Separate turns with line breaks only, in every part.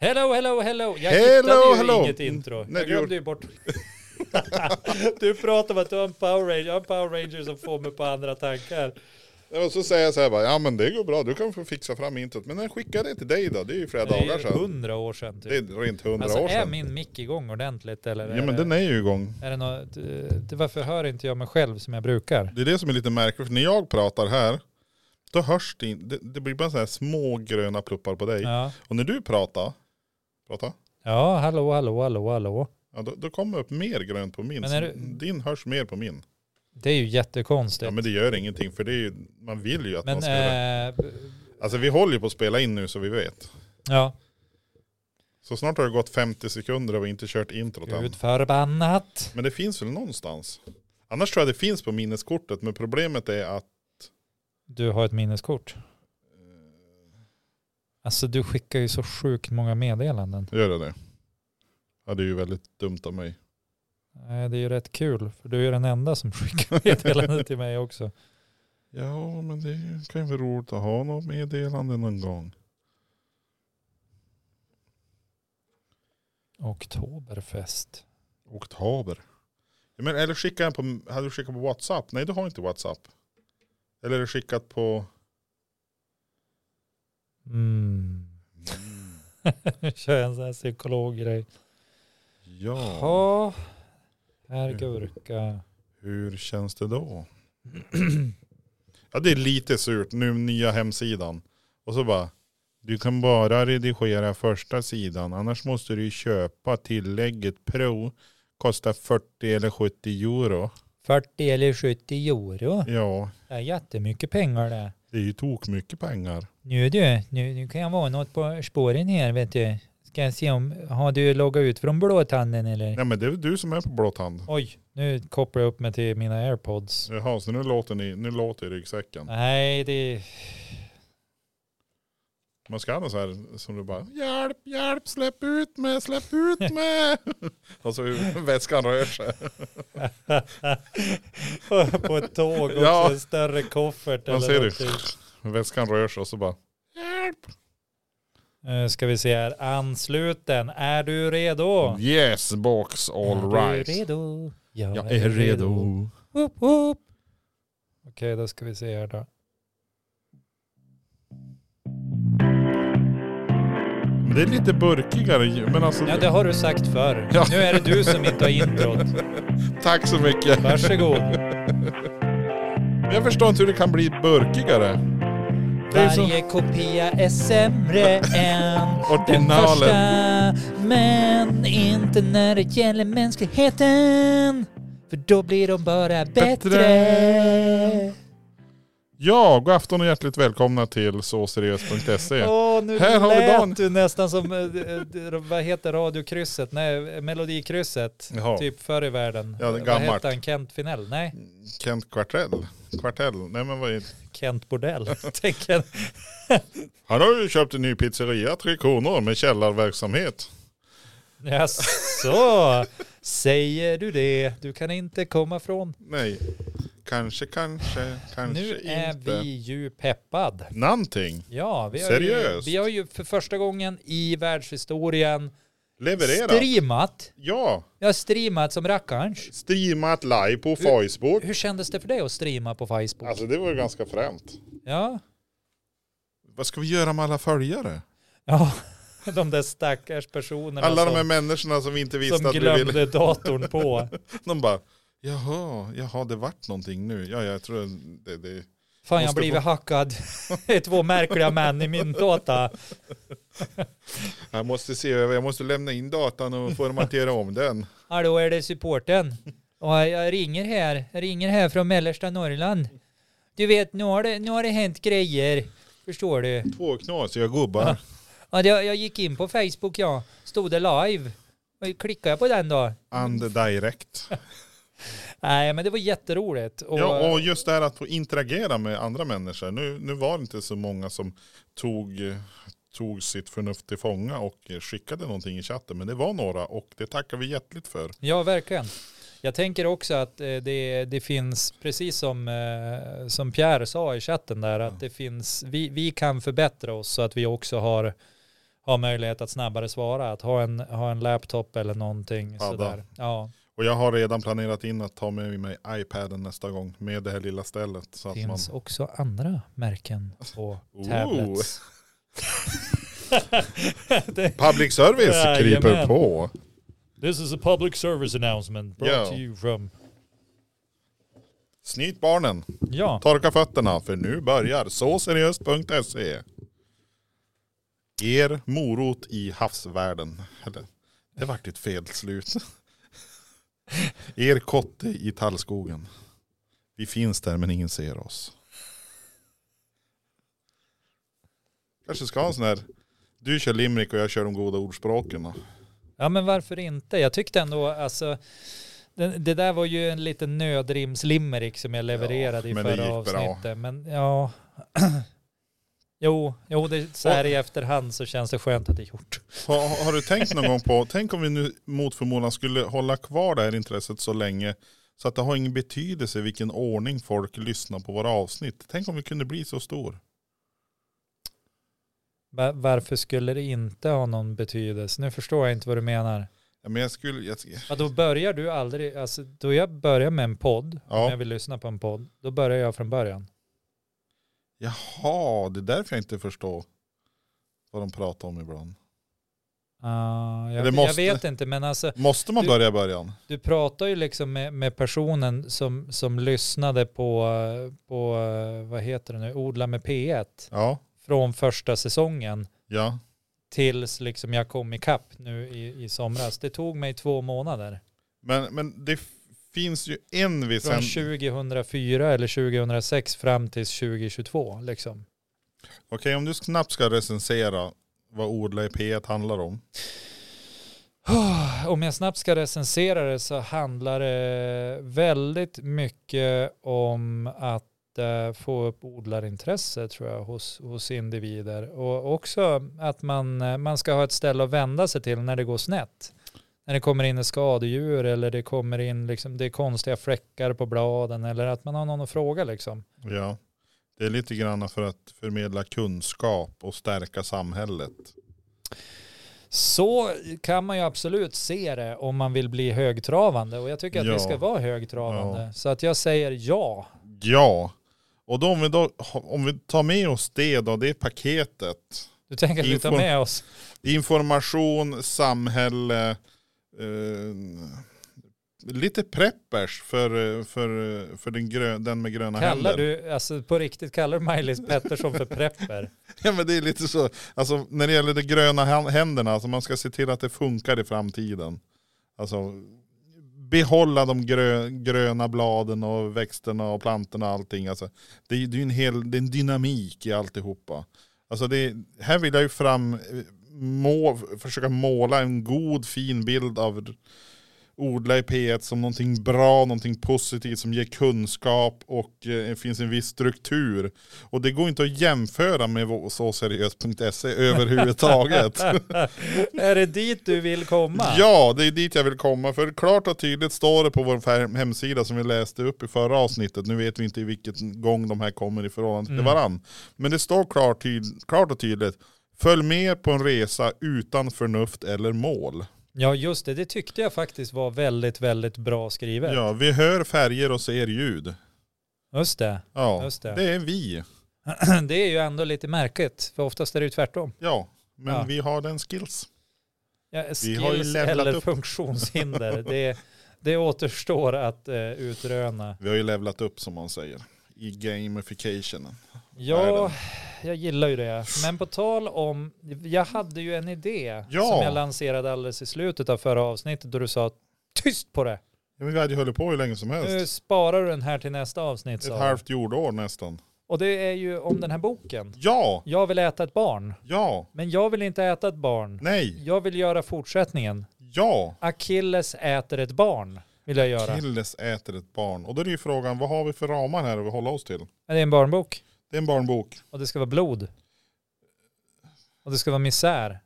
Hello, hello, hello! Jag
Hello,
hittade ju
hello.
inget intro.
Nej,
jag
du
glömde
gjorde-
ju bort. du pratar om att du har en Power Ranger, jag har en Power Ranger som får mig på andra tankar.
Och så säger jag så här bara, ja men det går bra, du kan få fixa fram introt. Men den skickade jag till dig då, det är ju flera
Det
dagar
är ju
sedan.
hundra år sedan typ.
Det är rent hundra
alltså
år
är
sedan.
min mick igång ordentligt eller?
Ja men den är ju igång.
är det något, det, varför hör inte jag mig själv som jag brukar?
Det är det som är lite märkligt, för när jag pratar här, då hörs det inte. Det, det blir bara så här små gröna pluppar på dig.
Ja,
Och när du pratar, prata,
ja hallå, hallå, hallå, hallå.
ja, då, då kommer upp mer grönt på min.
Men är
Så
du-
Din hörs mer på min.
Det är ju jättekonstigt.
Ja men det gör ingenting, för det är ju, man vill ju att
men
man ska göra.
eh, b-
Alltså vi håller ju på att spela in nu så vi vet.
ja,
Så snart har det gått 50 sekunder och vi inte kört introt än.
gud förbannat.
Men det finns väl någonstans? Annars tror jag det finns på minneskortet, men problemet är att
Du har ett minneskort.
eh,
Alltså du skickar ju så sjukt många meddelanden.
Gör jag det? Ja det är ju väldigt dumt av mig.
Nej, Det är ju rätt kul för du är den enda som skickar meddelanden till mig också.
Ja men det kan ju vara roligt att ha något meddelande någon gång.
Oktoberfest.
Oktober. Ja, Men, eller skicka en på, hade du skickat på WhatsApp? Nej du har inte WhatsApp. Eller är det skickat på...
Mm. Kör en sån här psykologgrej.
Ja.
Ja, här gurka.
Hur känns det då? Ja det är lite surt nu nya hemsidan. Och så bara. Du kan bara redigera första sidan annars måste du ju köpa tillägget pro. Kostar 40 eller 70 euro.
40 eller 70 euro.
Ja
Det är jättemycket pengar det.
det är ju tok mycket pengar.
Nu du, nu, nu kan jag vara något på spåren här vet du. Ska jag se om, har du loggat ut från blåtanden eller?
Nej men det är väl du som är på blått hand.
Oj, nu kopplar jag upp mig till mina airpods.
Jaha så nu låter ni, nu låter i ryggsäcken.
Nej, det...
Man ska ha så här som du bara hjälp, hjälp, släpp ut mig, släpp ut mig. alltså hur väskan rör sig.
på ett tåg också,
Ja.
en större koffert
Man
eller
ser
någonting.
det. Väskan rör sig och så bara hjälp.
Eh, Ska vi se här, ansluten, är du redo?
Yes box all
Är du
right.
redo? Jag, Woop, woop. Okej, då ska vi se här då.
Men det är lite burkigare ju, men alltså
Ja, det har du sagt förr.
Ja.
Nu är det du som inte har introt.
tack så mycket.
Varsågod.
Men Jag förstår inte hur det kan bli burkigare. Det är ju så-
Varje kopia är sämre än den
Originalet.
första. Men inte när det gäller mänskligheten. För då blir de bara bättre.
Ja, god afton och hjärtligt välkomna till såseriöst.se.
Åh, nu
Här har vi
lät
Dan.
du nästan som, eh, d- d- vad heter radiokrysset? Nej, melodikrysset.
Jaha.
Typ förr i världen.
Ja, det är
vad
gammalt. Mm.
hette han? Kent Finell? Nej,
Kent Kvartell. Kvartell, nej men vad är
Kent Bordell. Tänker jag.
Han har ju köpt en ny pizzeria, Tre Kronor, med källarverksamhet.
Jaså, säger du det? Du kan inte komma från
Nej, kanske, kanske, kanske
Nu är
inte.
vi ju peppad.
Någonting.
Ja, vi har, ju,
Seriöst?
vi har ju för första gången i världshistorien
Leverera.
streamat.
ja,
Jag har streamat som rackarns.
streamat live på Facebook.
Hur kändes det för dig att streama på Facebook?
Alltså det var ju ganska främt.
Ja.
Vad ska vi göra med alla följare?
ja, de där stackars personerna
Alla de här
som,
människorna som vi inte visste
alltså, som
att vi ville.
glömde datorn på.
De bara, jaha, jaha, det vart någonting nu. Ja, jag tror det, det.
Fan, jag har
Måste
blivit hackad. Det är två märkliga män i min data.
Jag måste se över, jag måste lämna in datan och formatera om den.
Hallå, är det supporten? Ja, jag ringer här. Jag ringer här från mellersta Norrland. Du vet, nu har det, nu har det hänt grejer. Förstår du?
Två knasiga gubbar.
Ja, det, jag gick in på Facebook, ja. Stod det live. Och klickade jag på den då?
And direct.
Nej, men det var jätteroligt. Och,
Ja, och just det här att få interagera med andra människor. Nu, nu var det inte så många som tog, tog sitt förnuft till fånga och skickade någonting i chatten. Men det var några och det tackar vi hjärtligt för.
Ja, verkligen. Jag tänker också att eh, det, det finns, precis som, eh, som Pierre sa i chatten där, att det finns, vi, vi kan förbättra oss så att vi också har, har möjlighet att snabbare svara. Att ha en, ha en laptop eller någonting.
Padda.
Sådär. Ja,
Och jag har redan planerat in att ta med mig iPaden nästa gång med det här lilla stället. Så
det
att man,
finns också andra märken på
Oh.
tablets. Det-
public service
Ja,
kryper
jajamän.
på.
This is a public service announcement
Ja.
you from...
Snyt barnen,
Ja,
torka fötterna, för nu börjar såseriöst.se. E. Er morot i havsvärlden. Eller, det vart ett felslut. Er kotte i tallskogen. Vi finns där men ingen ser oss. Kanske ska ha en sån här, du kör limerick och jag kör de goda ordspråken. då.
ja men varför inte? Jag tyckte ändå alltså... Det, det där var ju en liten nödrimslimerick som jag levererade i
men det
förra
gick bra.
avsnittet. Men ja... Jo, jo det, så här i efterhand så känns det skönt att det är gjort.
Har, har du tänkt någon gång på, tänk om vi nu mot förmodan skulle hålla kvar det här intresset så länge så att det har ingen betydelse i vilken ordning folk lyssnar på våra avsnitt. Tänk om vi kunde bli så stor.
Va- Varför skulle det inte ha någon betydelse? Nu förstår jag inte vad du menar.
Ja, men jag skulle, jag,
Ja, då börjar du aldrig, alltså då jag börjar med en podd,
Ja.
om jag vill lyssna på en podd, då börjar jag från början.
jaha, det är därför jag inte förstår vad de pratar om ibland.
Ah, jag,
Det måste-
jag vet inte, men alltså
Måste man
Du-
börja i början?
du pratar ju liksom med, med personen som, som lyssnade på, eh, på, eh, vad heter det nu, Odla med P1
Ja,
från första säsongen
ja.
tills liksom jag kom ikapp nu i, i somras. Det tog mig två månader.
Men, men det f- finns ju en viss...
Från
hän-
2004 eller 2006 fram till 2022 liksom.
Okej, om du snabbt ska recensera vad Odla i P1 handlar om.
Om jag snabbt ska recensera det så handlar det väldigt mycket om att eh, få upp odlarintresse tror jag hos, hos individer och också att man, eh, man ska ha ett ställe att vända sig till när det går snett. När det kommer in ett skadedjur eller det kommer in liksom, det är konstiga fläckar på bladen eller att man har någon att fråga liksom.
Ja, det är lite grann för att förmedla kunskap och stärka samhället.
Så kan man ju absolut se det om man vill bli högtravande och jag tycker att
Ja.
vi ska vara högtravande. Så att jag säger ja.
Ja, och då om, vi då om vi tar med oss det då, det är paketet.
Du tänker att vi tar
Info-
med oss?
Information, samhälle, eh, lite preppers för, eh, för, eh, för den, grö, den med gröna
Kallar
händer.
du, alltså på riktigt, kallar du Maj-Lis Pettersson för prepper?
Ja men det är lite så, alltså när det gäller de gröna hän- händerna, alltså man ska se till att det funkar i framtiden. Alltså behålla de grö, gröna bladen och växterna och plantorna och allting. Alltså, det, är- det är ju en hel det är en dynamik i alltihopa. Alltså det, här vill jag ju fram, må, försöka måla en god fin bild av odla i P1 som någonting bra, någonting positivt som ger kunskap och eh, finns en viss struktur. Och det går inte att jämföra med vå- såseriöst.se E överhuvudtaget.
Är det dit du vill komma?
ja, det är dit jag vill komma. För klart och tydligt står det på vår fär- hemsida som vi läste upp i förra avsnittet. Nu vet vi inte i vilken gång de här kommer i förhållande till
Mm.
varann. Men det står klart, tyd- klart och tydligt. Följ med på en resa utan förnuft eller mål.
Ja, just det. Det tyckte jag faktiskt var väldigt, väldigt bra skrivet.
Ja, vi hör färger och ser ljud.
Just det.
Ja,
Just det.
det är vi.
Det är ju ändå lite märkligt, för oftast är det ju tvärtom.
Ja, men
Ja.
vi har den skills.
Ja, skills
Vi har ju levlat
eller
upp.
funktionshinder, det, det återstår att eh, utröna.
Vi har ju levlat upp som man säger. I gamificationen.
Ja, jag gillar ju det. Men på tal om, jag hade ju en idé
Ja.
som jag lanserade alldeles i slutet av förra avsnittet då du sa tyst på det.
Ja, men vi hade ju hållit på hur länge som
Nu
helst.
Eh, sparar du den här till nästa avsnitt.
Ett
sa du.
halvt jordår nästan.
Och det är ju om den här boken.
Ja,
Jag vill äta ett barn,
ja,
men jag vill inte äta ett barn.
nej,
Jag vill göra fortsättningen.
ja.
Achilles äter ett barn, vill jag göra.
Killes äter ett barn. Och då är det ju frågan, vad har vi för ramar här att hålla oss till?
Det är en barnbok
Det är en barnbok.
och det ska vara blod. Och det ska vara misär.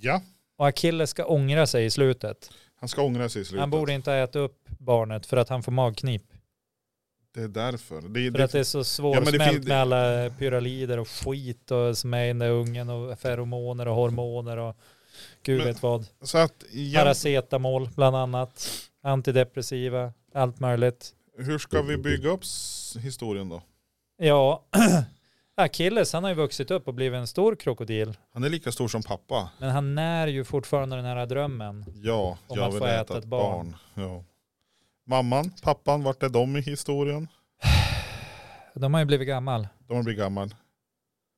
Ja,
Och Achilles ska ångra sig i slutet.
han ska ångra sig i slutet.
Han borde inte ha ätit upp barnet för att han får magknip.
Det är därför. Det,
För att det
det,
är så
Ja, men det
svårsmält
finns-
med alla pyralider och skit och som är i den där ungen och feromoner och hormoner och gud
Men-
vet vad.
så att, ja,
Paracetamol bland annat. Antidepressiva, allt möjligt.
hur ska vi bygga upp s- historien då?
Ja, Achilles han har ju vuxit upp och blivit en stor krokodil.
Han är lika stor som pappa.
Men han när ju fortfarande den här drömmen.
Ja,
Om
jag
att
vill
få
äta,
äta
ett
ett barn.
barn. Ja. Mamman, pappan, vart är de i historien?
De har ju blivit gammal.
De har blivit gammal.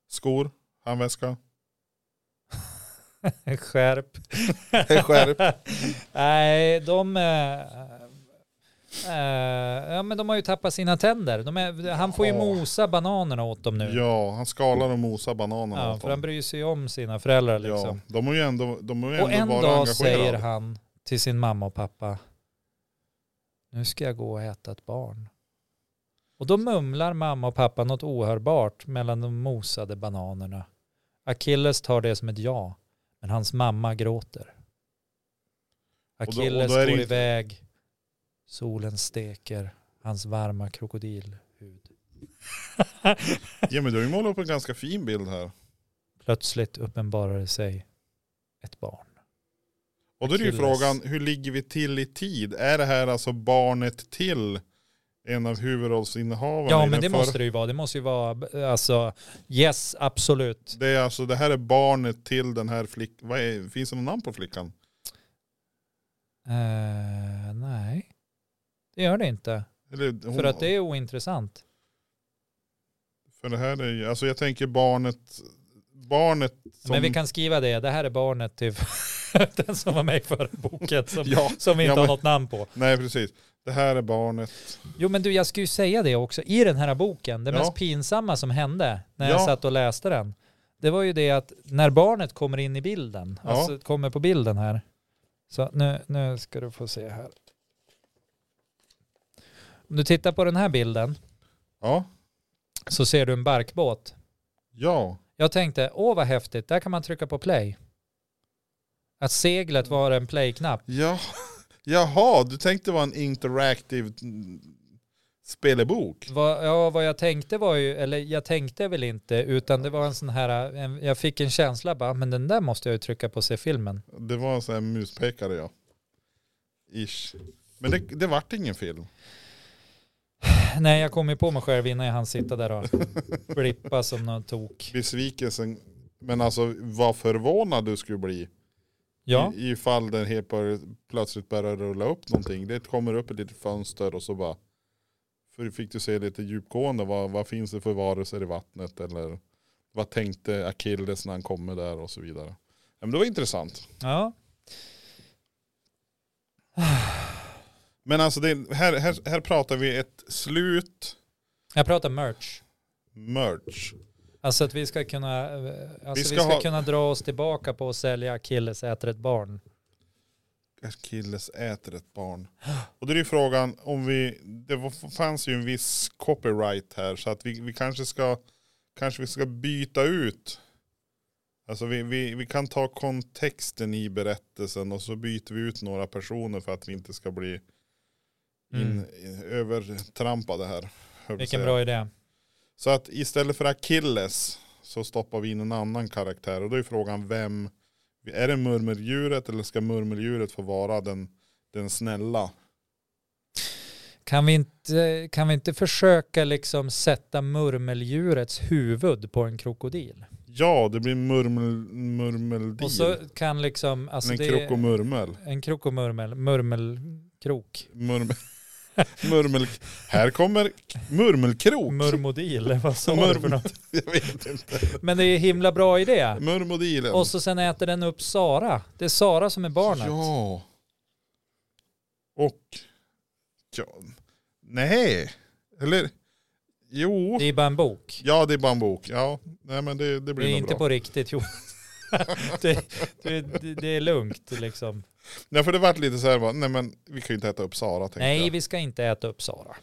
Skor, handväska.
Skärp.
Skärp.
Nej, de... eh, eh, ja, men de har ju tappat sina tänder. De är, han får ju
Ja.
mosa bananerna åt dem nu.
Ja, han skalar och mosar bananerna
Ja,
åt
för
dem.
han bryr sig ju om sina föräldrar liksom.
Ja, de har ju ändå, de har ju
och en
ändå varit
dag säger
engagerade.
han till sin mamma och pappa, nu ska jag gå och äta ett barn. Och då mumlar mamma och pappa något ohörbart mellan de mosade bananerna. Achilles tar det som ett ja, men hans mamma gråter.
då- och då
Achilles
är det
går
inte-
iväg, solen steker hans varma krokodilhud.
Ja, men du har ju målat upp en ganska fin bild här.
Plötsligt uppenbarade sig ett barn.
Och då är det ju
Achilles.
frågan, hur ligger vi till i tid? Är det här alltså barnet till en av huvudrollsinnehavarna?
Ja
i
men
den
det
förra-
måste det ju vara. Det måste ju vara, alltså yes absolut.
Det är alltså, det här är barnet till den här flickan. Vad är, finns det något namn på flickan?
Eh, nej, det gör det inte.
Eller hon-
För att det är ointressant.
För det här är ju, alltså jag tänker barnet, barnet som...
Men vi kan skriva det. Det här är barnet till den som var med i förra boken som,
Ja,
som vi inte
ja, men-
har något namn på.
nej precis. Det här är barnet.
Jo men du, jag ska ju säga det också. I den här boken, det
Ja.
mest pinsamma som hände när
Ja.
jag satt och läste den, det var ju det att när barnet kommer in i bilden,
Ja.
alltså kommer på bilden här, så nu, nu ska du få se här. Om du tittar på den här bilden
Ja,
så ser du en barkbåt.
ja.
Jag tänkte, åh vad häftigt, där kan man trycka på play. Att seglet var en play-knapp.
Ja, jaha, du tänkte vara en interactive mm, spelebok.
Vad, ja, vad jag tänkte var ju, eller jag tänkte väl inte, utan det var en sån här, en, jag fick en känsla bara, "Ah, men den där måste jag ju trycka på och se filmen.
Det var en sån här muspekare ja. Ish. Men det, det vart ingen film.
Nej, jag kom ju på mig själv innan jag hann sitta där och blippa som någon tok.
Besvikelsen, men alltså vad förvånad du skulle bli.
Ja,
I, ifall den helt bör, plötsligt börjar rulla upp någonting. Det kommer upp ett litet fönster och så bara. För fick du se lite djupgående. Vad, vad finns det för varelser i vattnet? Eller vad tänkte Akilles när han kommer där och så vidare. Ja, Men det var intressant.
ja.
Men alltså det, här, här, här pratar vi ett slut
Jag pratar merch.
merch.
Alltså att vi ska kunna, eh, alltså vi
ska
ska,
ha-
kunna dra oss tillbaka på att sälja Achilles äter ett barn.
Achilles äter ett barn. Och då är ju frågan om vi, det var- fanns ju en viss copyright här så att vi, vi kanske ska, kanske vi ska byta ut. Alltså vi, vi, vi kan ta kontexten i berättelsen och så byter vi ut några personer för att vi inte ska bli in, övertrampade här. höll jag på att
Mm. Vilken
säga.
bra idé.
Så att istället för Achilles så stoppar vi in en annan karaktär och då är frågan vem, är det murmeldjuret eller ska murmeldjuret få vara den, den snälla?
Kan vi, inte, kan vi inte försöka liksom sätta murmeldjurets huvud på en krokodil?
Ja, det blir murmel, murmeldil.
Och så kan liksom, alltså
en
det
krokomurmel.
är en krokomurmel, murmelkrok,
Murmel, murmel, här kommer k- murmelkrok.
murmodil, vad sa du för något?
Jag vet inte.
Men det är himla bra idé.
Murmodilen.
Och så sen äter den upp Sara. Det är Sara som är barnet.
Ja. Och, ja, nej. Eller, jo.
Det är bara en bok.
Ja, det är bara en bok. Ja, nej men det, det blir
Det är
nog
inte
bra.
på riktigt, jo. det, det, det- det är lugnt liksom.
Nej, för det vart lite så här, bara, nej men vi kan ju inte äta upp Sara tänkte
Nej,
jag.
vi ska inte äta upp Sara.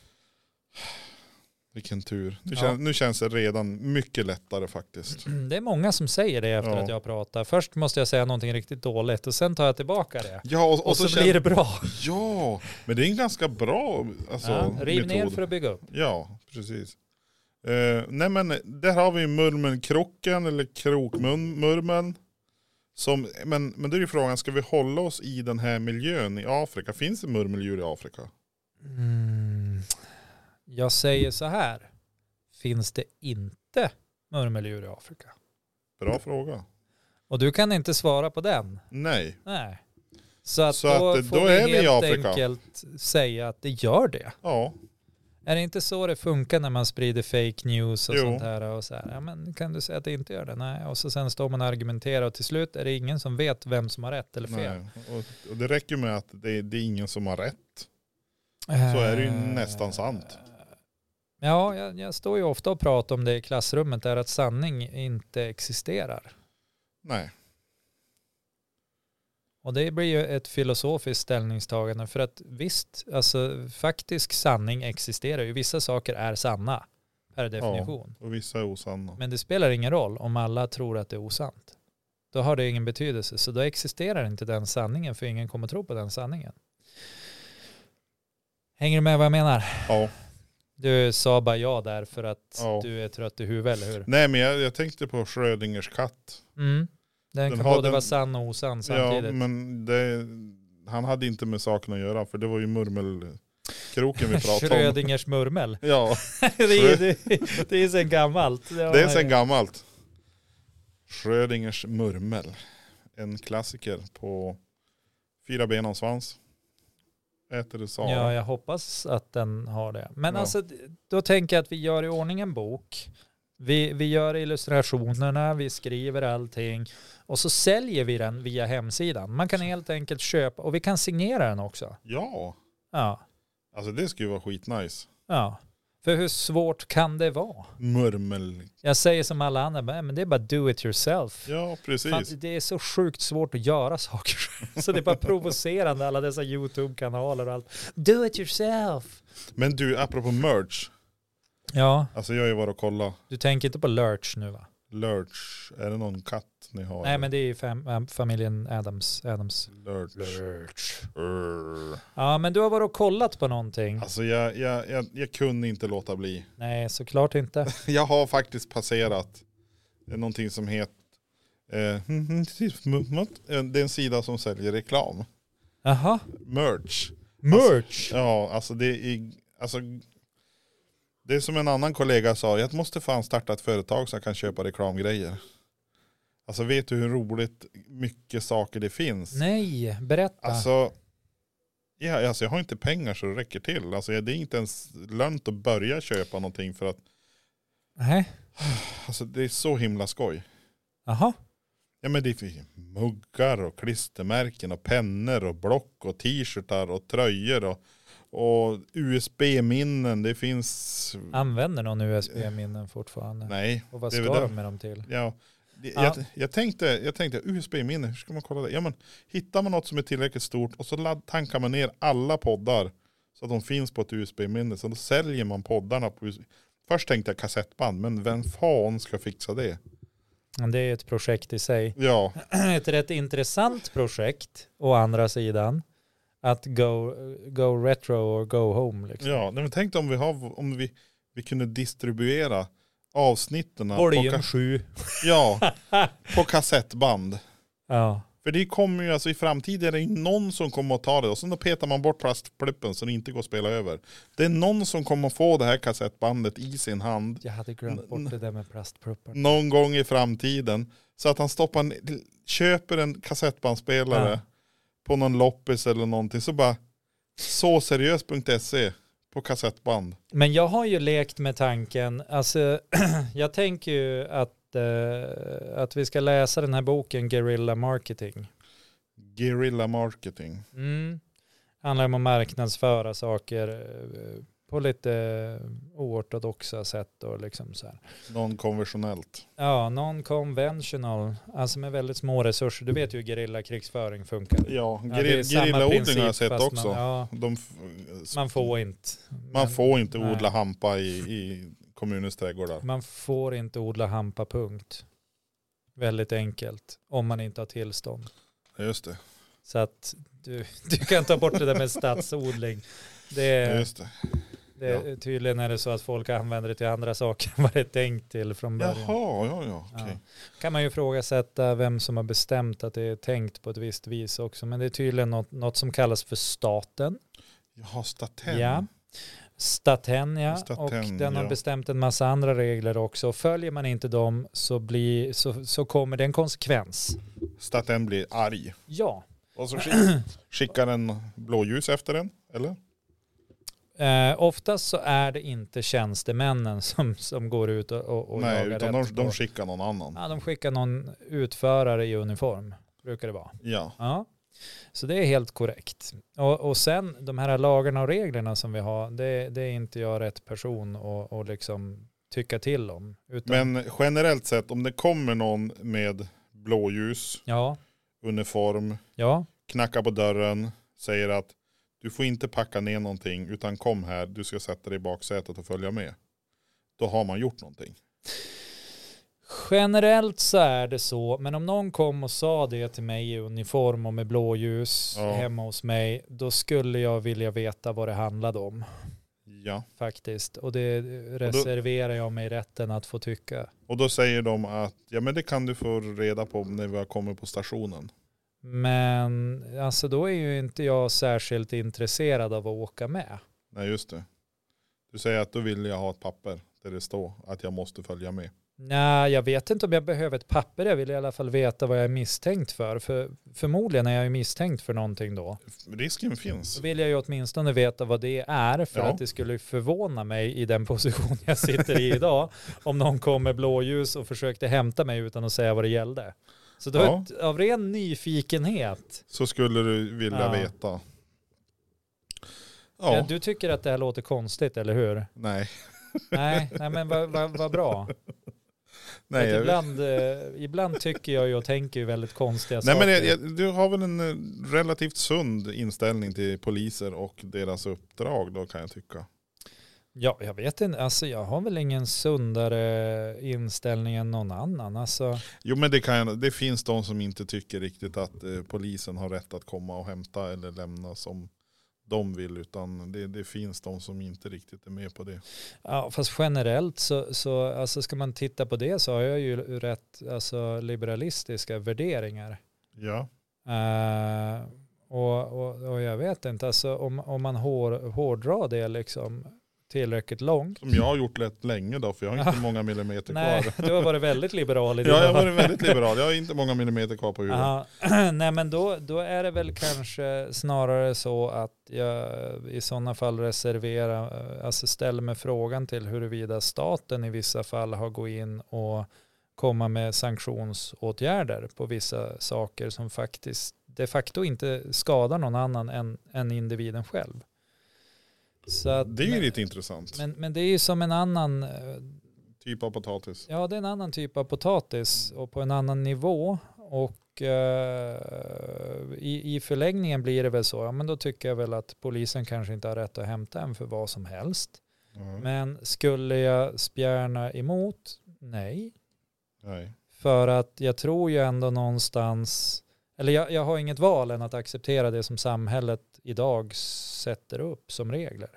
Vilken tur. Nu,
Ja.
kän, nu känns det redan mycket lättare faktiskt.
Mm, Det är många som säger det efter
Ja.
att jag pratar. Först måste jag säga någonting riktigt dåligt och sen tar jag tillbaka det.
Ja, och,
Och, så,
kän-
blir det bra.
Ja, men det är en ganska bra alltså,
ja, riv
metod.
ner för att bygga upp.
Ja, precis. Eh, nej men där har vi murmelkrocken eller krokmurmeln. Som, men, men då är ju frågan, ska vi hålla oss i den här miljön i Afrika? Finns det murmeldjur i Afrika?
Mm. Jag säger så här. Finns det inte murmeldjur i Afrika?
Bra fråga.
Och du kan inte svara på den.
Nej.
Nej. Så att
Så
då,
att, eh,
får
då
vi
är vi i
helt
Afrika.
enkelt säga att det gör det.
Ja,
Är det inte så det funkar när man sprider fake news och
Jo.
sånt här? Och så här ja, men kan du säga att det inte gör det? Nej. Och så sen står man och argumenterar och till slut är det ingen som vet vem som har rätt eller fel.
nej. Och, och det räcker med att det, det är ingen som har rätt. Så är det ju
Eh,
nästan sant.
Ja, jag, jag står ju ofta och pratar om det i klassrummet där att sanning inte existerar.
Nej.
Och det blir ju ett filosofiskt ställningstagande för att visst, alltså faktisk sanning existerar ju. Vissa saker är sanna per definition.
Och vissa är osanna.
Men det spelar ingen roll om alla tror att det är osant. Då har det ingen betydelse. Så då existerar inte den sanningen för ingen kommer tro på den sanningen. Hänger du med vad jag menar?
Ja.
Du sa bara ja där för att
Ja.
du är trött i huvudet, eller hur?
Nej men jag, jag tänkte på Schrödingers katt.
Mm. Den,
Den
kan
har
både
den-
vara sann och osann samtidigt.
Ja men det, han hade inte med saken att göra för det var ju murmelkroken vi pratade om.
Schrödingers murmel.
Ja.
det, är, det, det är sen gammalt.
Det är sen gammalt. Schrödingers murmel. En klassiker på fyra ben och en svans. Äter du Sara?
Ja, jag hoppas att den har det. Men
Ja.
alltså, då tänker jag att vi gör i ordning en bok. Vi, vi gör illustrationerna, vi skriver allting och så säljer vi den via hemsidan. Man kan helt enkelt köpa och vi kan signera den också.
Ja.
Ja,
Alltså det skulle ju vara skitnice.
ja. För hur svårt kan det vara?
Murmel.
Jag säger som alla andra, men det är bara do it yourself.
Ja
Fan,
precis.
det är så sjukt svårt att göra saker själv. Så det är bara provocerande alla dessa YouTube-kanaler och allt. Do it yourself.
Men du apropå merch.
Ja,
Alltså jag har ju varit och kollat.
du tänker inte på Lurch nu va?
Lurch. Är det någon katt ni har?
Nej men det är ju fam äm, familjen Adams. Adams.
Lurch.
Lurch.
Urr.
Ja men du har varit och kollat på någonting?
Alltså jag, jag, jag, jag kunde inte låta bli.
Nej såklart inte.
Jag har faktiskt passerat någonting som heter eh, det är en sida som säljer reklam.
Jaha.
Merch.
Merch.
Alltså, Ja, alltså det är, alltså, det är som en annan kollega sa, jag måste fan starta ett företag så jag kan köpa reklamgrejer. Alltså vet du hur roligt mycket saker det finns?
Nej, berätta.
Alltså, ja, alltså jag har inte pengar så det räcker till. Alltså det är inte ens lönt att börja köpa någonting för att
Nej.
alltså, det är så himla skoj.
Jaha.
Ja men det finns ju muggar och klistermärken och pennor och block och t-shirtar och tröjor och, och USB-minnen. Det finns...
Använder någon USB-minnen fortfarande?
Nej.
Och vad
det är
ska
väl det.
de med dem till?
Ja. Det-
Ja.
Jag, jag tänkte, jag tänkte USB-minne, hur ska man kolla det? Ja men hittar man något som är tillräckligt stort och så ladd, tankar man ner alla poddar så att de finns på ett USB-minne. Så då säljer man poddarna på USB. Först tänkte jag kassettband, men vem fan ska fixa det?
Det är ett projekt i sig.
Ja,
ett rätt intressant projekt å andra sidan. Att go, go retro och go home. Liksom.
Ja, nej, men tänk dig om vi, har, om vi, vi kunde distribuera avsnitten på,
Volym
ka-
7.
ja, på kassettband.
Ja.
För det kommer ju alltså i framtiden är det ju någon som kommer att ta det och sen då petar man bort plastpluppen så det inte går att spela över. Det är någon som kommer att få det här kassettbandet i sin hand
Jag hade glömt bort det där med plastpruppar.
någon gång i framtiden så att han stoppar en, köper en kassettbandspelare
Ja.
på någon loppis eller någonting så bara såseriös.se E på kassettband.
Men jag har ju lekt med tanken, alltså jag tänker ju att, eh, att vi ska läsa den här boken Guerrilla Marketing.
Guerrilla marketing.
Mm. Handlar om att marknadsföra saker eh, på lite oortodoxa sätt och liksom så här.
Non-konventionellt.
Ja, non-conventional, alltså med väldigt små resurser. Du vet ju hur gerillakrigsföring funkar.
Ja,
Ja, det är
geri-
samma
gerillaodling har jag
princip,
sett
fast
också.
Man, ja,
De f- s-
man får inte.
man
Men-
får inte
nej.
odla hampa i, i kommunens trädgårdar.
Man får inte odla hampa, punkt. Väldigt enkelt, om man inte har tillstånd.
Ja, Just det.
Så att du, du kan ta bort det där med stadsodling. Det,
Ja,
är-
Just det.
det, tydligen är det så att folk använder det till andra saker än vad det är tänkt till från början.
Jaha, ja, ja. okej.
kan man ju ifrågasätta vem som har bestämt att det är tänkt på ett visst vis också. Men det är tydligen något, något som kallas för staten.
Jaha, staten.
Ja. Staten, ja.
Staten,
och den har
ja.
bestämt en massa andra regler också. Och Följer man inte dem så, blir, så, så kommer det en konsekvens.
Staten blir arg.
Ja,
Och så skick- skickar den blåljus efter den, eller?
eh, oftast så är det inte tjänstemännen som, som går ut och, och, och
Nej,
jagar
utan de,
rätt
de
på-
skickar någon annan.
ja, de skickar någon utförare i uniform, brukar det vara.
Ja.
Ja, så det är helt korrekt. Och, och sen de här lagarna och reglerna som vi har, det, det är inte jag rätt person att att liksom tycka till om. Utan,
Men generellt sett, om det kommer någon med blåljus,
ja,
uniform,
ja,
knackar på dörren, säger att du får inte packa ner någonting utan kom här, du ska sätta dig i baksätet och följa med. Då har man gjort någonting.
generellt så är det så, men om någon kom och sa det till mig i uniform och med blåljus
Ja.
hemma hos mig, då skulle jag vilja veta vad det handlade om
Ja.
faktiskt. Och det reserverar jag mig rätten att få tycka.
Och då säger de att ja, men det kan du få reda på när vi har kommit på stationen.
Men alltså då är ju inte jag särskilt intresserad av att åka med.
Nej just det. Du säger att då vill jag ha ett papper där det står att jag måste följa med.
Nej, jag vet inte om jag behöver ett papper. Jag vill i alla fall veta vad jag är misstänkt för. för förmodligen är jag ju misstänkt för någonting då.
Risken finns.
Så vill jag ju åtminstone veta vad det är för
Ja.
att det skulle förvåna mig i den position jag sitter i idag om någon kom med blåljus och försökte hämta mig utan att säga vad det gällde. Så då,
Ja.
av ren nyfikenhet,
Så skulle du vilja
Ja.
veta. Ja,
ja. du tycker att det här låter konstigt, eller hur?
nej.
Nej, nej men vad vad- vad bra.
nej
För att
jag-
ibland, eh, ibland tycker jag ju och tänker ju väldigt konstiga
Nej
saker.
men jag, jag, du har väl en eh, relativt sund inställning till poliser och deras uppdrag då kan jag tycka.
Ja, jag vet inte. Alltså, jag har väl ingen sundare inställning än någon annan. Alltså,
Jo men det, kan, jag- det finns de som inte tycker riktigt att eh, polisen har rätt att komma och hämta eller lämna som de vill utan det, det finns de som inte riktigt är med på det.
ja, fast generellt så, så alltså, ska man titta på det så har jag ju rätt alltså, liberalistiska värderingar.
Ja,
Eh, och, och, och jag vet inte, alltså, om, om man hår, hårdrar det liksom tillräckligt långt.
som jag har gjort lätt länge då för jag har inte många millimeter
Nej,
kvar.
du har varit väldigt liberal i
Ja, jag
dina-
har varit väldigt liberal, jag har inte många millimeter kvar på huvudet.
Ja, nej men då, då är det väl kanske snarare så att jag i sådana fall reserverar, eh, alltså ställer mig frågan till huruvida staten i vissa fall har gått in och komma med sanktionsåtgärder på vissa saker som faktiskt de facto inte skadar någon annan än, än individen själv. Så att,
Det är ju lite intressant,
men, men det är ju som en annan eh,
typ av potatis.
Ja, det är en annan typ av potatis och på en annan nivå. Och eh, i, i förlängningen blir det väl så, ja men då tycker jag väl att polisen kanske inte har rätt att hämta en för vad som helst.
Ja.
Men skulle jag spjärna emot? Nej.
Nej.
För att jag tror ju ändå någonstans, eller jag, jag har inget val än att acceptera det som samhället idag sätter upp som regler.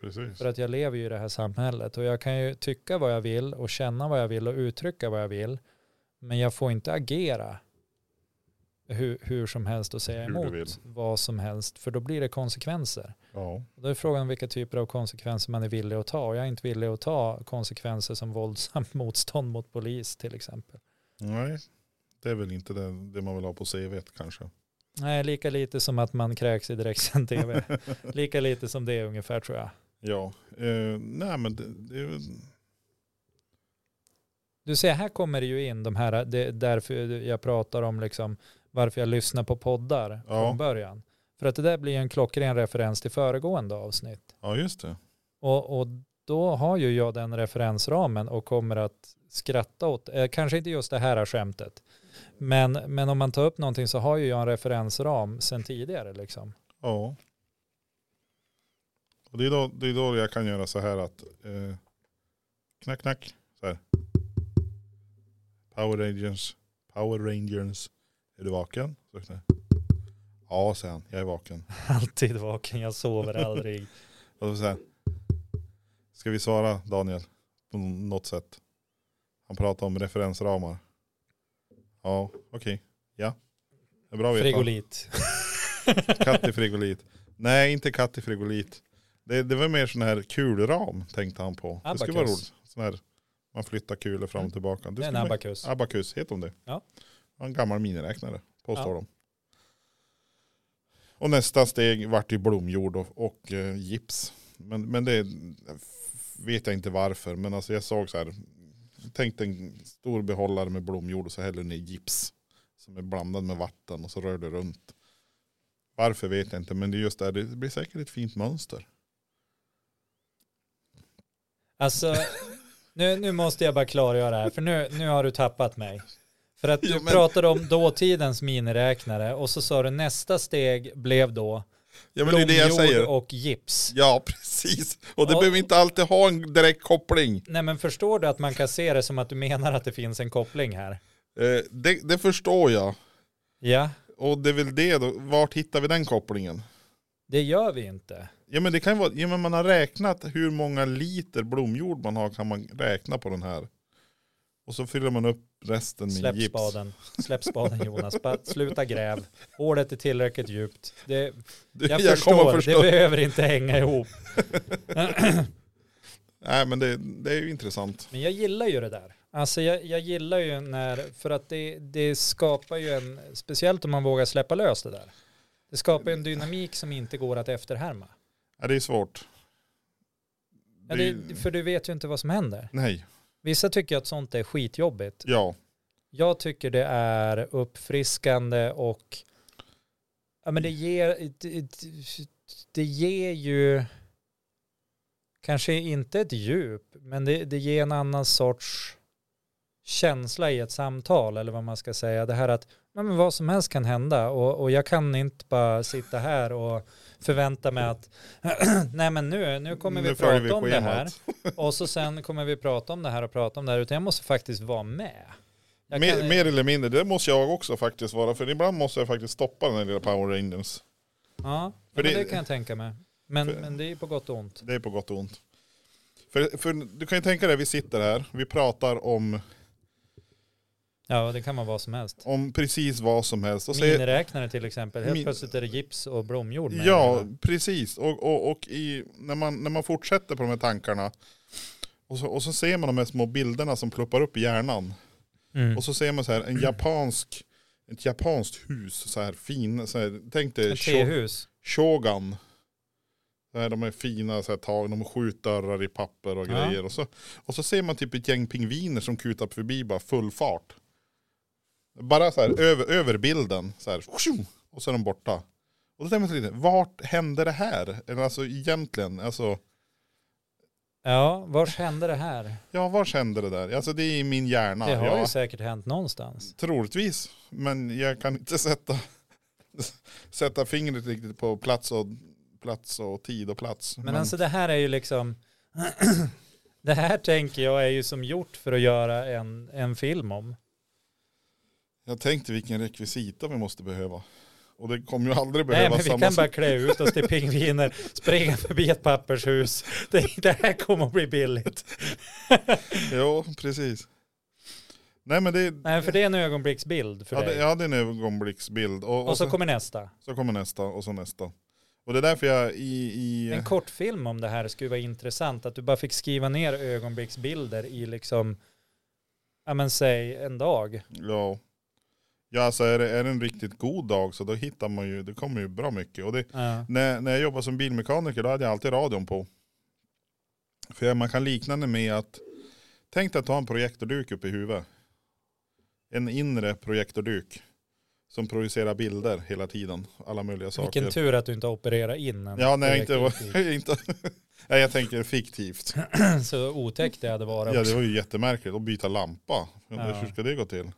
Precis.
För att jag lever ju i det här samhället och jag kan ju tycka vad jag vill och känna vad jag vill och uttrycka vad jag vill. Men jag får inte agera hur, hur som helst och säga
Hur du vill.
emot vad som helst för då blir det konsekvenser.
Ja.
Och Då är frågan vilka typer av konsekvenser man är villig att ta och jag är inte villig att ta konsekvenser som våldsamt motstånd mot polis till exempel.
Nej, det är väl inte det, det man vill ha på CV kanske.
Nej, lika lite som att man kräks i direktsänd tv. lika lite som det ungefär tror jag.
Ja, eh, nej men det, det är väl,
Du ser, här kommer det ju in de här, det är därför jag pratar om liksom varför jag lyssnar på poddar
Ja.
från början. För För att det där blir en klockren referens till föregående avsnitt.
Ja, just det.
Och, och då har ju jag den referensramen och kommer att skratta åt, eh, kanske inte just det här är skämtet, men, men om man tar upp någonting så har ju jag en referensram sen tidigare liksom.
Ja. Och det är då, det är då jag kan göra så här att eh, knack knack. Så här. Power Rangers. Power Rangers. Är du vaken? Så knack. Ja, säger han. Jag är vaken.
Alltid vaken, jag sover aldrig.
Och så säger han, Ska vi svara Daniel? På något sätt. Han pratar om referensramar. Ja, okej. Ja. Det är bra att veta.
Frigolit.
Katt i frigolit. Nej, inte katt i frigolit. Det, det var mer sån här kulram tänkte han på. Det skulle vara
Abakus.
roligt. Sån här, man flyttar kulor fram och tillbaka. Det
Det är en
skulle man-
abakus.
Abakus, heter de det?
Ja.
En gammal miniräknare, påstår de. Och nästa steg vart ju blomjord och, och eh, gips. Men, men det f- vet jag inte varför. Men alltså jag såg så här, tänk dig en stor behållare med blomjord och så häller du ner gips som är blandad med vatten och så rör du runt. Varför vet jag inte, men det är just det, här, det blir säkert ett fint mönster.
Alltså, nu, nu måste jag bara klargöra det här, för nu, nu har du tappat mig. För att du
Jo, men-
pratade om dåtidens miniräknare och så sa du nästa steg blev då
Ja men det är det jag
blomjord
säger.
och gips.
Ja precis, och det
Ja.
behöver inte alltid ha en direkt koppling.
Nej men förstår du att man kan se det som att du menar att det finns en koppling här?
Eh, det, det förstår jag.
Ja,
Och det är väl det då. Vart hittar vi den kopplingen?
det gör vi inte.
Ja men det kan ju vara, ja men man har räknat hur många liter blomjord man har kan man räkna på den här. Och så fyller man upp resten med
Släpp
gips.
spaden, släpp spaden Jonas, bara sluta gräv. Hålet är tillräckligt djupt. Det,
Du,
jag,
kommer
förstår,
att
det
förstå.
behöver inte hänga ihop.
Nej men det, det är ju intressant.
Men jag gillar ju det där. Alltså jag, jag gillar ju när, för att det, det skapar ju en, speciellt om man vågar släppa lös det där. Det skapar ju en dynamik som inte går att efterhärma.
Ja, det är svårt.
Ja,
Det är-
det, för du vet ju inte vad som händer.
Nej,
Vissa tycker att sånt är skitjobbigt.
ja.
Jag tycker det är uppfriskande och ja, men det, ger, det, det ger ju kanske inte ett djup, men det, det ger en annan sorts känsla i ett samtal eller vad man ska säga. Det här att ja, men vad som helst kan hända och, och jag kan inte bara sitta här och förvänta mig att nej men nu, nu kommer vi
Nu följer
prata
vi
om det här
schemat.
och så sen kommer vi prata om det här och prata om det här utan jag måste faktiskt vara med. Jag
Mer,
kan-
mer eller mindre, det måste jag också faktiskt vara. För ibland måste jag faktiskt stoppa den här lilla Power Rangers.
Ja,
För
men
det-
det, kan jag tänka mig. Men,
för-
men det är ju på gott och ont.
Det är på gott och ont. För, för du kan ju tänka dig, vi sitter här, vi pratar om,
Ja, och det kan vara vad som helst.
om precis vad som helst. Och säger,
Miniräknare till exempel. Helt
Min-
plötsligt är det gips och bromjord med.
ja, precis. Och, och, och i, när, man, när man fortsätter på de här tankarna och så, och så ser man de här små bilderna som pluppar upp i hjärnan.
Mm.
Och så ser man så här, en japansk, ett japanskt hus, så här fin, så här, tänk dig
Ett
sho-
tehus.
shogan. Så här, de är fina så här, tag, de har skjutdörrar i papper och
Ja.
grejer. Och så, och så ser man typ ett gäng pingviner som kutar förbi bara full fart. Bara så här över, över bilden, så här, tjo, och så är de borta. Och då tänker man sig lite, vart hände det här? Eller alltså egentligen, alltså,
Ja, vars hände det här?
ja var hände det där? Alltså det är i min hjärna.
Det har
ja.
ju säkert hänt någonstans.
Troligtvis, men jag kan inte sätta, sätta fingret riktigt på plats och, plats och tid och plats.
Men, alltså det här är ju liksom... det här tänker jag är ju som gjort för att göra en, en film om.
Jag tänkte vilken rekvisita vi måste behöva. Och det kommer ju aldrig
Nej,
behöva
men vi
samma
kan bara klä ut oss till pingviner, springa förbi ett pappershus. Det, det här kommer att bli billigt.
Jo, precis. Nej men det,
Nej, för det är en ögonblicksbild för
ja,
dig.
det, ja, det är en ögonblicksbild. Och, och,
Och så
så,
kommer nästa.
så kommer nästa och så nästa. Och det är därför jag i... i
En kortfilm om det här skulle vara intressant. Att du bara fick skriva ner ögonblicksbilder i liksom, ja men säg en dag.
ja, ja alltså är det, är det en riktigt god dag så då hittar man ju, det kommer ju bra mycket. Och det,
Ja.
När, när jag jobbade som bilmekaniker då hade jag alltid radion på. För man kan likna det med att, tänk dig att ha en projektorduk uppe i huvudet. En inre projektorduk. som producerar bilder hela tiden. Alla möjliga saker.
Vilken tur att du inte har opererat in en.
Ja, nej,
direkt
inte, inte, nej, jag tänker fiktivt.
kritik. Så otäckt det hade varit.
Ja, det
också.
var ju jättemärkligt att byta lampa. Jag undrar
Ja.
Hur ska det gå till?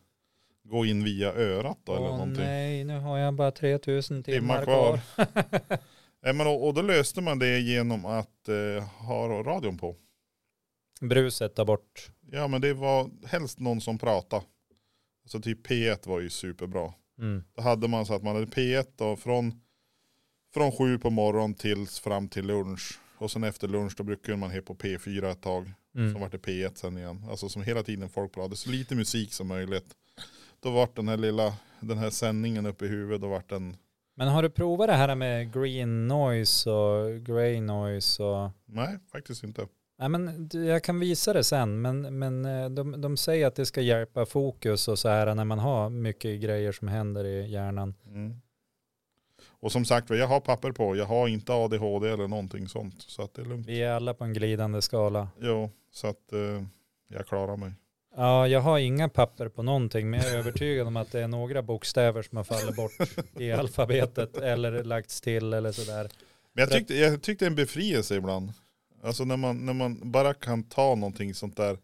Gå in via örat då eller
Åh,
någonting?
nej, nu har jag bara 3000 timmar,
Timmar
kvar.
kvar. Nej, men, och, och då löste man det genom att eh, ha radion på.
Bruset tar bort.
Ja men det var helst någon som pratade. Så typ P1 var ju superbra.
Mm.
Då hade man så att man hade P1 då från, från sju på morgonen tills fram till lunch. Och sen efter lunch då brukade man heta på P4 ett tag. Som
Mm.
vart det P1 sen igen. Alltså som hela tiden folk pratade. Så lite musik som möjligt. Då vart den här lilla, den här sändningen uppe i huvudet. Då vart den,
Men har du provat det här med green noise och grey noise och
nej faktiskt inte.
Nej, men du, jag kan visa det sen, men, men eh, de, de säger att det ska hjälpa fokus och så här när man har mycket grejer som händer i hjärnan.
Mm. Och som sagt jag har papper på. Jag har inte ADHD eller någonting sånt. Så att det är lugnt.
Vi är alla på en glidande skala.
Jo, så att eh, jag klarar mig.
Ja, jag har inga papper på någonting, men jag är övertygad om att det är några bokstäver som har fallit bort i alfabetet eller lagts till eller sådär.
Men jag tyckte, jag tyckte det är en befrielse ibland. Alltså när man, när man bara kan ta någonting sånt där.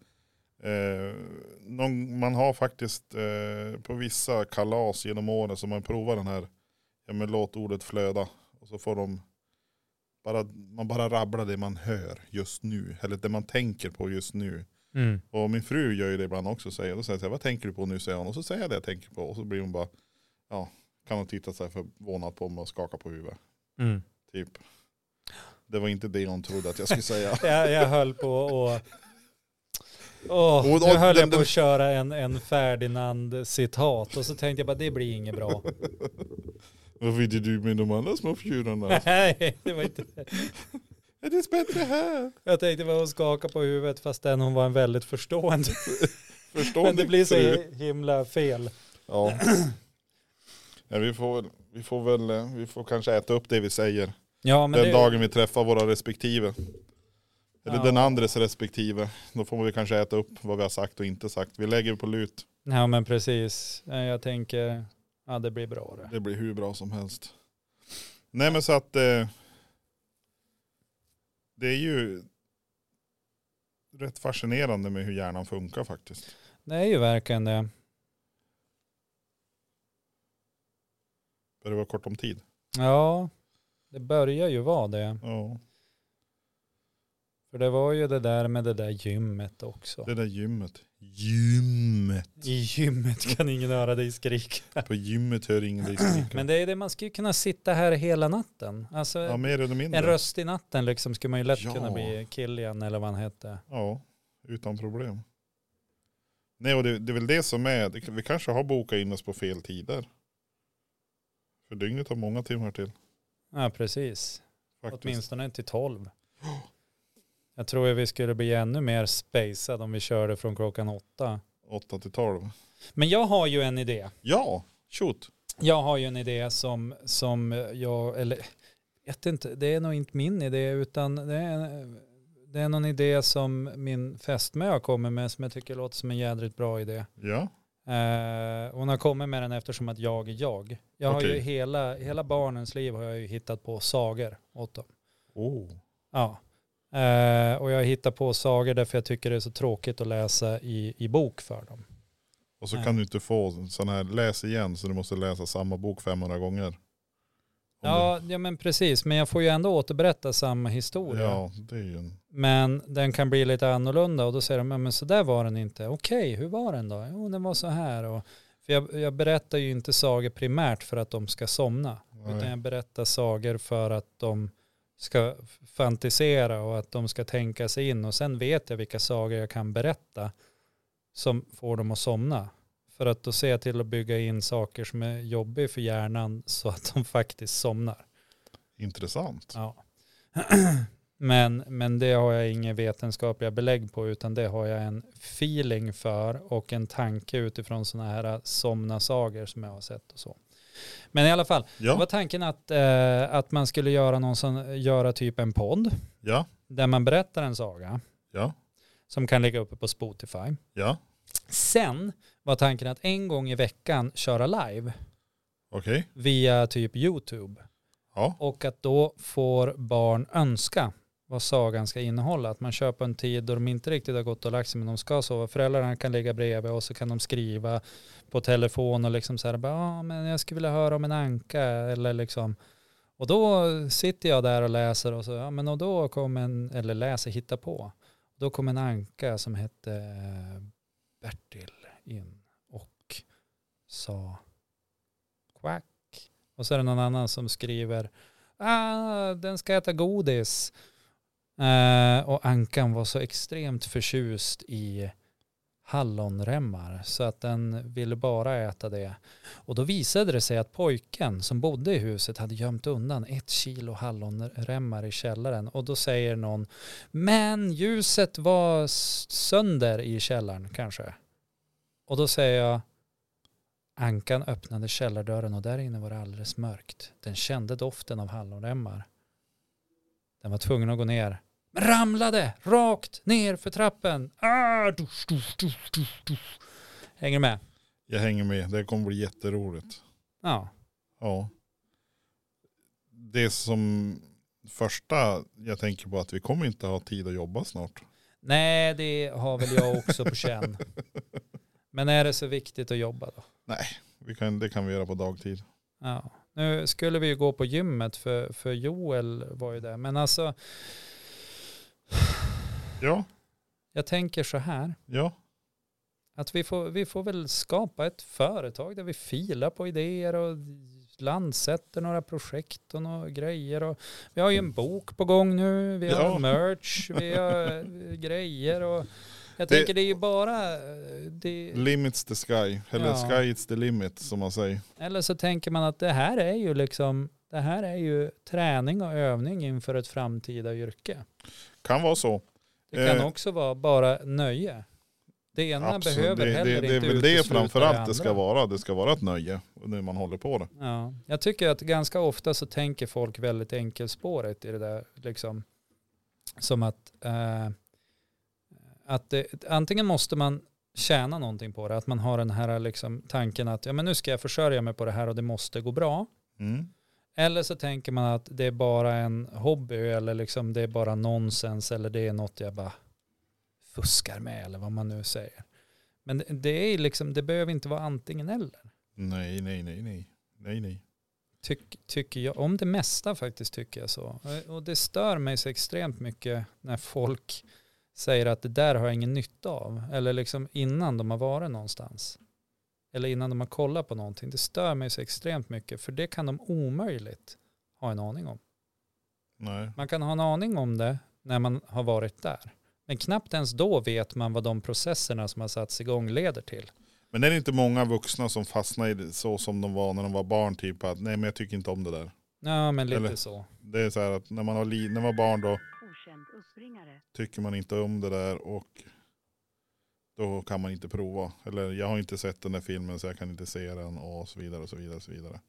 Eh, någon, man har faktiskt eh, på vissa kalas genom åren så man provar den här, ja men låt ordet flöda. Och så får de, bara, man bara rabblar det man hör just nu, eller det man tänker på just nu.
Mm.
Och min fru gör ju det ibland också. Säger, då säger jag så här, vad tänker du på nu? Säger hon. Och så säger jag det jag tänker på. Och så blir hon bara, ja, kan hon titta så här förvånad på mig och skaka på huvudet.
Mm.
Typ. Det var inte det hon trodde att jag skulle säga.
Jag, jag höll på och... Åh,
Och- och
nu höll
den-
jag på
den-
att köra en, en Ferdinand-citat och så tänkte jag bara det blir inget bra.
Vad vill du med de andra små fjurarna?
Nej, det var inte
Är det bättre här?
Jag tänkte bara hon skaka på huvudet fastän hon var en väldigt förstående.
Förstår
Men det
ni,
blir så
fru?
himla fel.
Ja. Nej, vi, får, väl- vi får väl, eh, vi får kanske äta upp det vi säger.
Ja, men
den
det,
dagen vi träffar våra respektive. Eller
Ja.
den andres respektive. Då får vi kanske äta upp vad vi har sagt och inte sagt. Vi lägger på lut.
Ja, men precis. Eh, Jag tänker, ja det blir bra det.
Det blir hur bra som helst. Nej men så att eh, det är ju rätt fascinerande med hur hjärnan funkar faktiskt.
Det är ju verkligen det.
Börjar vara kort om tid.
Ja, det börjar ju vara det.
Ja,
För det var ju det där med det där gymmet också.
det där gymmet. Gymmet.
I gymmet kan ingen höra dig skrika.
På gymmet hör ingen dig skrika.
Men det är det, man skulle ju kunna sitta här hela natten. Alltså
Ja mer eller mindre.
en röst i natten liksom skulle man ju lätt
Ja.
kunna bli Kilian eller vad han hette.
Ja, utan problem. Nej och det, det är väl det som är, det, vi kanske har bokat in oss på fel tider. För dygnet har många timmar till.
Ja, precis.
Faktiskt.
Åtminstone till 12. Jag tror ju vi skulle bli ännu mer spacad om vi körde från klockan åtta.
8 till 12.
Men jag har ju en idé.
Ja, shoot.
Jag har ju en idé som, som jag, eller vet inte, det är nog inte min idé utan det är, det är någon idé som min fästmö har kommit med som jag tycker låter som en jädrigt bra idé.
Ja.
Eh, hon har kommit med den eftersom att jag är jag. Jag har ju
Okej.
hela, hela barnens liv har jag ju hittat på sagor åt dem.
Oh.
Ja. Eh, och jag hittar på sagor därför jag tycker det är så tråkigt att läsa i, i bok för dem.
Och så
Ja.
kan du inte få sån här läs igen så du måste läsa samma bok 500 gånger. Om
Ja, ja, men precis. Men jag får ju ändå återberätta samma
det,
historia.
ja, det är ju en...
Men den kan bli lite annorlunda och då säger de, "Ja, men så där var den inte. Okej, hur var den då? Jo, den var så här. Och, för jag, jag berättar ju inte sagor primärt för att de ska somna. Utan
Nej.
jag berättar sagor för att de ska f- fantisera och att de ska tänka sig in. Och sen vet jag vilka sagor jag kan berätta som får dem att somna. För att då ser jag till att bygga in saker som är jobbiga för hjärnan så att de faktiskt somnar.
Intressant.
Ja. Men, men det har jag inga vetenskapliga belägg på utan det har jag en feeling för och en tanke utifrån sådana här somna-sagor som jag har sett och så. Men i alla fall,
Ja,
var tanken att, eh, att man skulle göra, någon sån, göra typ en podd
ja,
där man berättar en saga
ja,
som kan ligga uppe på Spotify.
ja.
Sen var tanken att en gång i veckan köra live
Okej,
via typ YouTube.
ja.
Och att då får barn önska vad sagan ska innehålla. Att man köper en tid då de inte riktigt har gått och lagt sig men de ska sova. Föräldrarna kan ligga bredvid och så kan de skriva på telefon och liksom så här, bara, "Ah, men jag skulle vilja höra om en anka eller liksom. Och då sitter jag där och läser och så, ja men och då kom en, eller läser, hitta på. Då kom en anka som hette eh, Bertil in och sa quack. Och så är det någon annan som skriver ah, den ska äta godis. Eh, och ankan var så extremt förtjust i hallonremmar så att den ville bara äta det. Och då visade det sig att pojken som bodde i huset hade gömt undan ett kilo hallonremmar i källaren och då säger någon men ljuset var s- sönder i källaren kanske. Och då säger jag Ankan öppnade källardörren och där inne var det alldeles mörkt. Den kände doften av hallonremmar. Den var tvungen att gå ner. Men ramlade rakt ner för trappen. Ah, dusch, dusch, dusch, dusch, dusch. Hänger du med?
Jag hänger med. Det kommer bli jätteroligt.
Ja.
Ja. Det som första jag tänker på att vi kommer inte ha tid att jobba snart.
Nej, det har väl jag också på känn. Men är det så viktigt att jobba då?
Vi kan, det kan vi göra på dagtid.
Ja. Nu skulle vi ju gå på gymmet för, för Joel var ju där. Men alltså,
Ja,
jag tänker så här.
ja.
Att vi får, vi får väl skapa ett företag där vi filar på idéer och landsätter några projekt och några grejer. Och vi har ju en bok på gång nu, vi har
Mm. Ja.
merch, vi har eh, grejer och jag
Det- Mm.
tänker det är ju bara eh, det,
Limits the sky. Eller
Ja.
sky it's the limit som man säger.
eller så tänker man att det här är ju liksom det här är ju träning och övning inför ett framtida yrke.
Kan vara så.
Det kan
Eh,
också vara bara nöje. Det ena
Absolut.
behöver
det,
heller
det, det är
inte
väl det
utesluta
framförallt det ska
andra.
vara. Det ska vara ett nöje när man håller på det.
Ja, jag tycker att ganska ofta så tänker folk väldigt enkelspårigt i det där. Liksom. Som att, eh, att det, antingen måste man tjäna någonting på det, att man har den här liksom, tanken att ja, men nu ska jag försörja mig på det här och det måste gå bra.
Mm.
Eller så tänker man att det är bara en hobby eller liksom det är bara nonsens eller det är något jag bara fuskar med eller vad man nu säger. Men det, det, är liksom, det behöver inte vara antingen eller.
Nej, nej, nej, nej. Nej, nej.
Tyck, tycker jag, om det mesta faktiskt tycker jag så. Och- Och det stör mig så extremt mycket när folk säger att det där har jag ingen nytta av. Eller liksom innan de har varit någonstans. Eller innan de har kollat på någonting. Det stör mig så extremt mycket för det kan de omöjligt ha en aning om.
Nej.
Man kan ha en aning om det när man har varit där. Men knappt ens då vet man vad de processerna som har satts igång leder till.
Men är det inte många vuxna som fastnar i det så som de var när de var barn? Typ att nej men jag tycker inte om det där.
Ja, men lite
Eller-
så.
Det är så här att när man, har li- när man var barn då
Okänd uppringare.
tycker man inte om det där och då kan man inte prova. Eller jag har inte sett den där filmen så jag kan inte se den och så vidare och så vidare. Och, så vidare.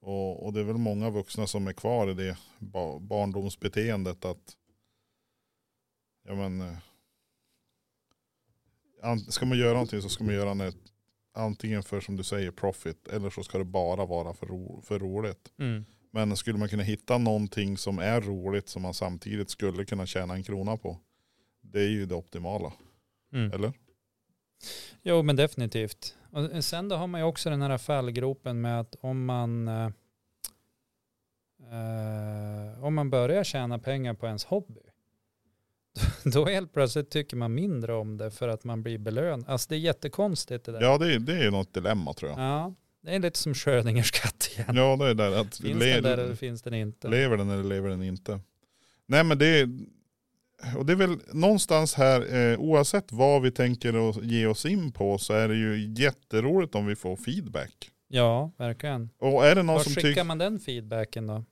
och, och det är väl många vuxna som är kvar i det ba- barndomsbeteendet att ja men eh, an- ska man göra någonting så ska man göra det antingen för som du säger profit eller så ska det bara vara för, ro, för roligt.
Mm.
Men skulle man kunna hitta någonting som är roligt som man samtidigt skulle kunna tjäna en krona på. Det är ju det optimala.
Mm.
Eller?
Jo, men definitivt. Och eh, sen då har man ju också den här fallgropen med att om man eh, eh, om man börjar tjäna pengar på ens hobby då helt plötsligt tycker man mindre om det för att man blir belönad. Alltså det är jättekonstigt det där.
Ja det, är- det är ju något dilemma tror jag.
Ja, det är lite som Schrödingers katt igen.
Ja det är där att
finns
le-
den där eller finns den inte?
lever den eller lever den inte. Nej men det är, och det är väl någonstans här eh, oavsett vad vi tänker att ge oss in på så är det ju jätteroligt om vi får feedback.
ja, verkligen.
Och är det någon
Var
som
skickar
tycker,
man den feedbacken då?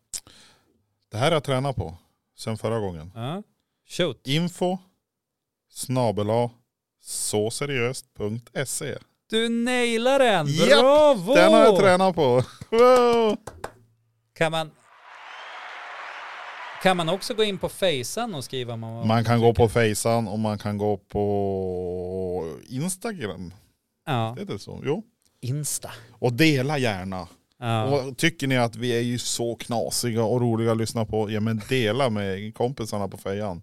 det här har jag tränat på sen förra gången.
Ja. Shoot.
Info snabela så seriöst.se
Du nailar den!
Japp,
Bravo!
Den har jag tränat på. Wow.
Kan man, kan man också gå in på Facean och skriva om man,
Man kan gå på Facean och man kan gå på Instagram.
ja.
Det är det så? Jo.
Insta?
Och dela gärna.
Ja.
Och tycker ni att vi är ju så knasiga och roliga att lyssna på, ja men dela med kompisarna på fejan.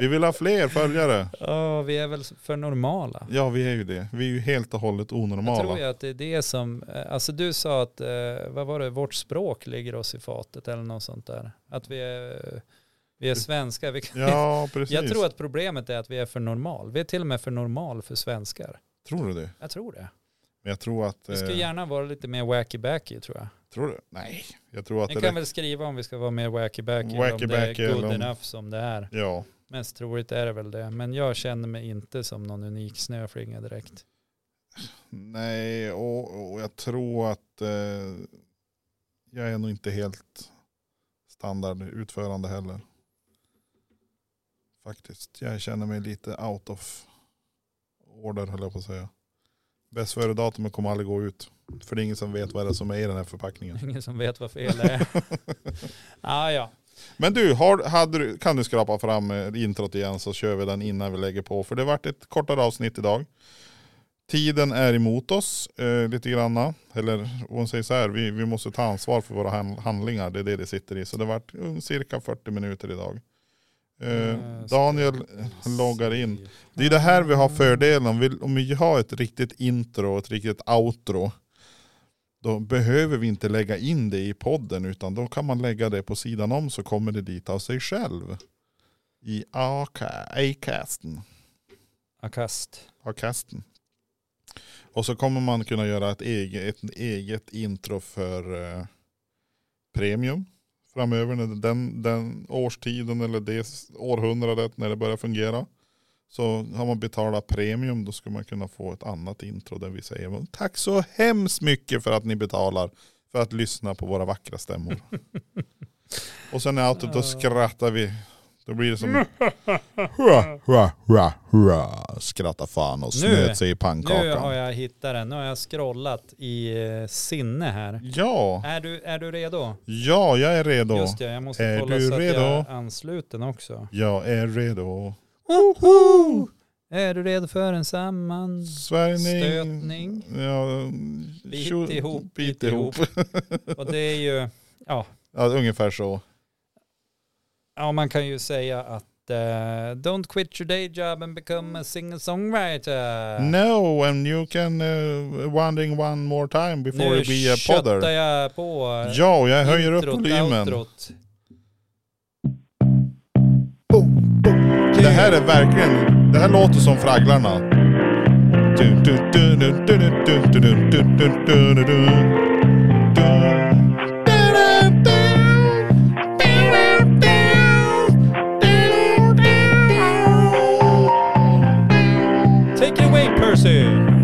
Vi vill ha fler följare.
Ja, vi är väl för normala.
Ja vi är ju det. Vi är ju helt och hållet
Jag tror
onormala.
ju att det är det som, eh, alltså du sa att, eh, vad var det, vårt språk ligger oss i fatet eller något sånt där. Att vi är, vi är svenskar. Vi kan,
Ja precis.
jag tror att problemet är att vi är för normal. Vi är till och med för normal för svenskar.
Tror du det?
Jag tror det.
Men jag tror att...
Vi ska
eh,
gärna vara lite mer wacky-backy tror jag.
Tror du? Nej. Jag tror att
Ni
det
kan
räcker.
väl skriva om vi ska vara mer wacky-backy, eller om det
Wacky-backy
är
eller
good
om-
enough som det är.
Ja.
Mest troligt är det väl det, men jag känner mig inte som någon unik snöflinga direkt.
Nej och, och jag tror att eh, jag är nog inte helt standardutförande heller. Faktiskt. Jag känner mig lite out of order höll jag på att säga. Bäst före datumet kommer aldrig gå ut. För det är ingen som vet vad det är som är i den här förpackningen.
Ingen som vet vad fel det är. ah, ja,
Men du, har, hade du, kan du skrapa fram eh, introt igen så kör vi den innan vi lägger på. För det vart ett kortare avsnitt idag. Tiden är emot oss eh, lite granna. Eller hon säger så här, vi, vi måste ta ansvar för våra han- handlingar. Det är det det sitter i. Så det vart mm, cirka 40 minuter idag. Eh,
Mm,
Daniel eh, loggar in. Det är det här vi har fördelen. Om vi, om vi har ett riktigt intro och ett riktigt outro. Då behöver vi inte lägga in det i podden utan då kan man lägga det på sidan om så kommer det dit av sig själv. I Aca- Acasten.
Akast.
Acasten. Och så kommer man kunna göra ett eget, ett eget intro för eh, premium framöver. När den, den årstiden eller det s- århundradet när det börjar fungera. Så har man betalat premium då ska man kunna få ett annat intro där vi säger tack så hemskt mycket för att ni betalar för att lyssna på våra vackra stämmor. Och sen är outet, då skrattar vi. Då blir det som hurra, hurra, hurra, hurra. Skratta fan och
Nu-
snöt sig i pannkakan.
Nu har jag hittat den, nu har jag scrollat i eh, sinne här.
Ja,
Är du, är du redo?
ja jag är redo.
Just det, jag måste
Är
kolla
du
så att jag är
redo?
ansluten också.
Jag är redo.
Woho! Är du redo för en samman...
Svärjning.
Stötning.
Ja,
Bit
tjo-
ihop,
bit
bit
ihop.
Och det är ju, ja,
ja, ungefär så.
ja man kan ju säga att eh, don't quit your day job and become a singer-songwriter.
No, and you can uh, wondering one more time before
nu
you be a
köttar
podder.
jag på eh,
Ja, och jag höjer upp
introt,
volymen.
outrot.
Det här är verkligen, det här låter som Fragglarna. Du, du, du, du, du, du, du, du, du, du, du, du, du, du.
Take it away Percy!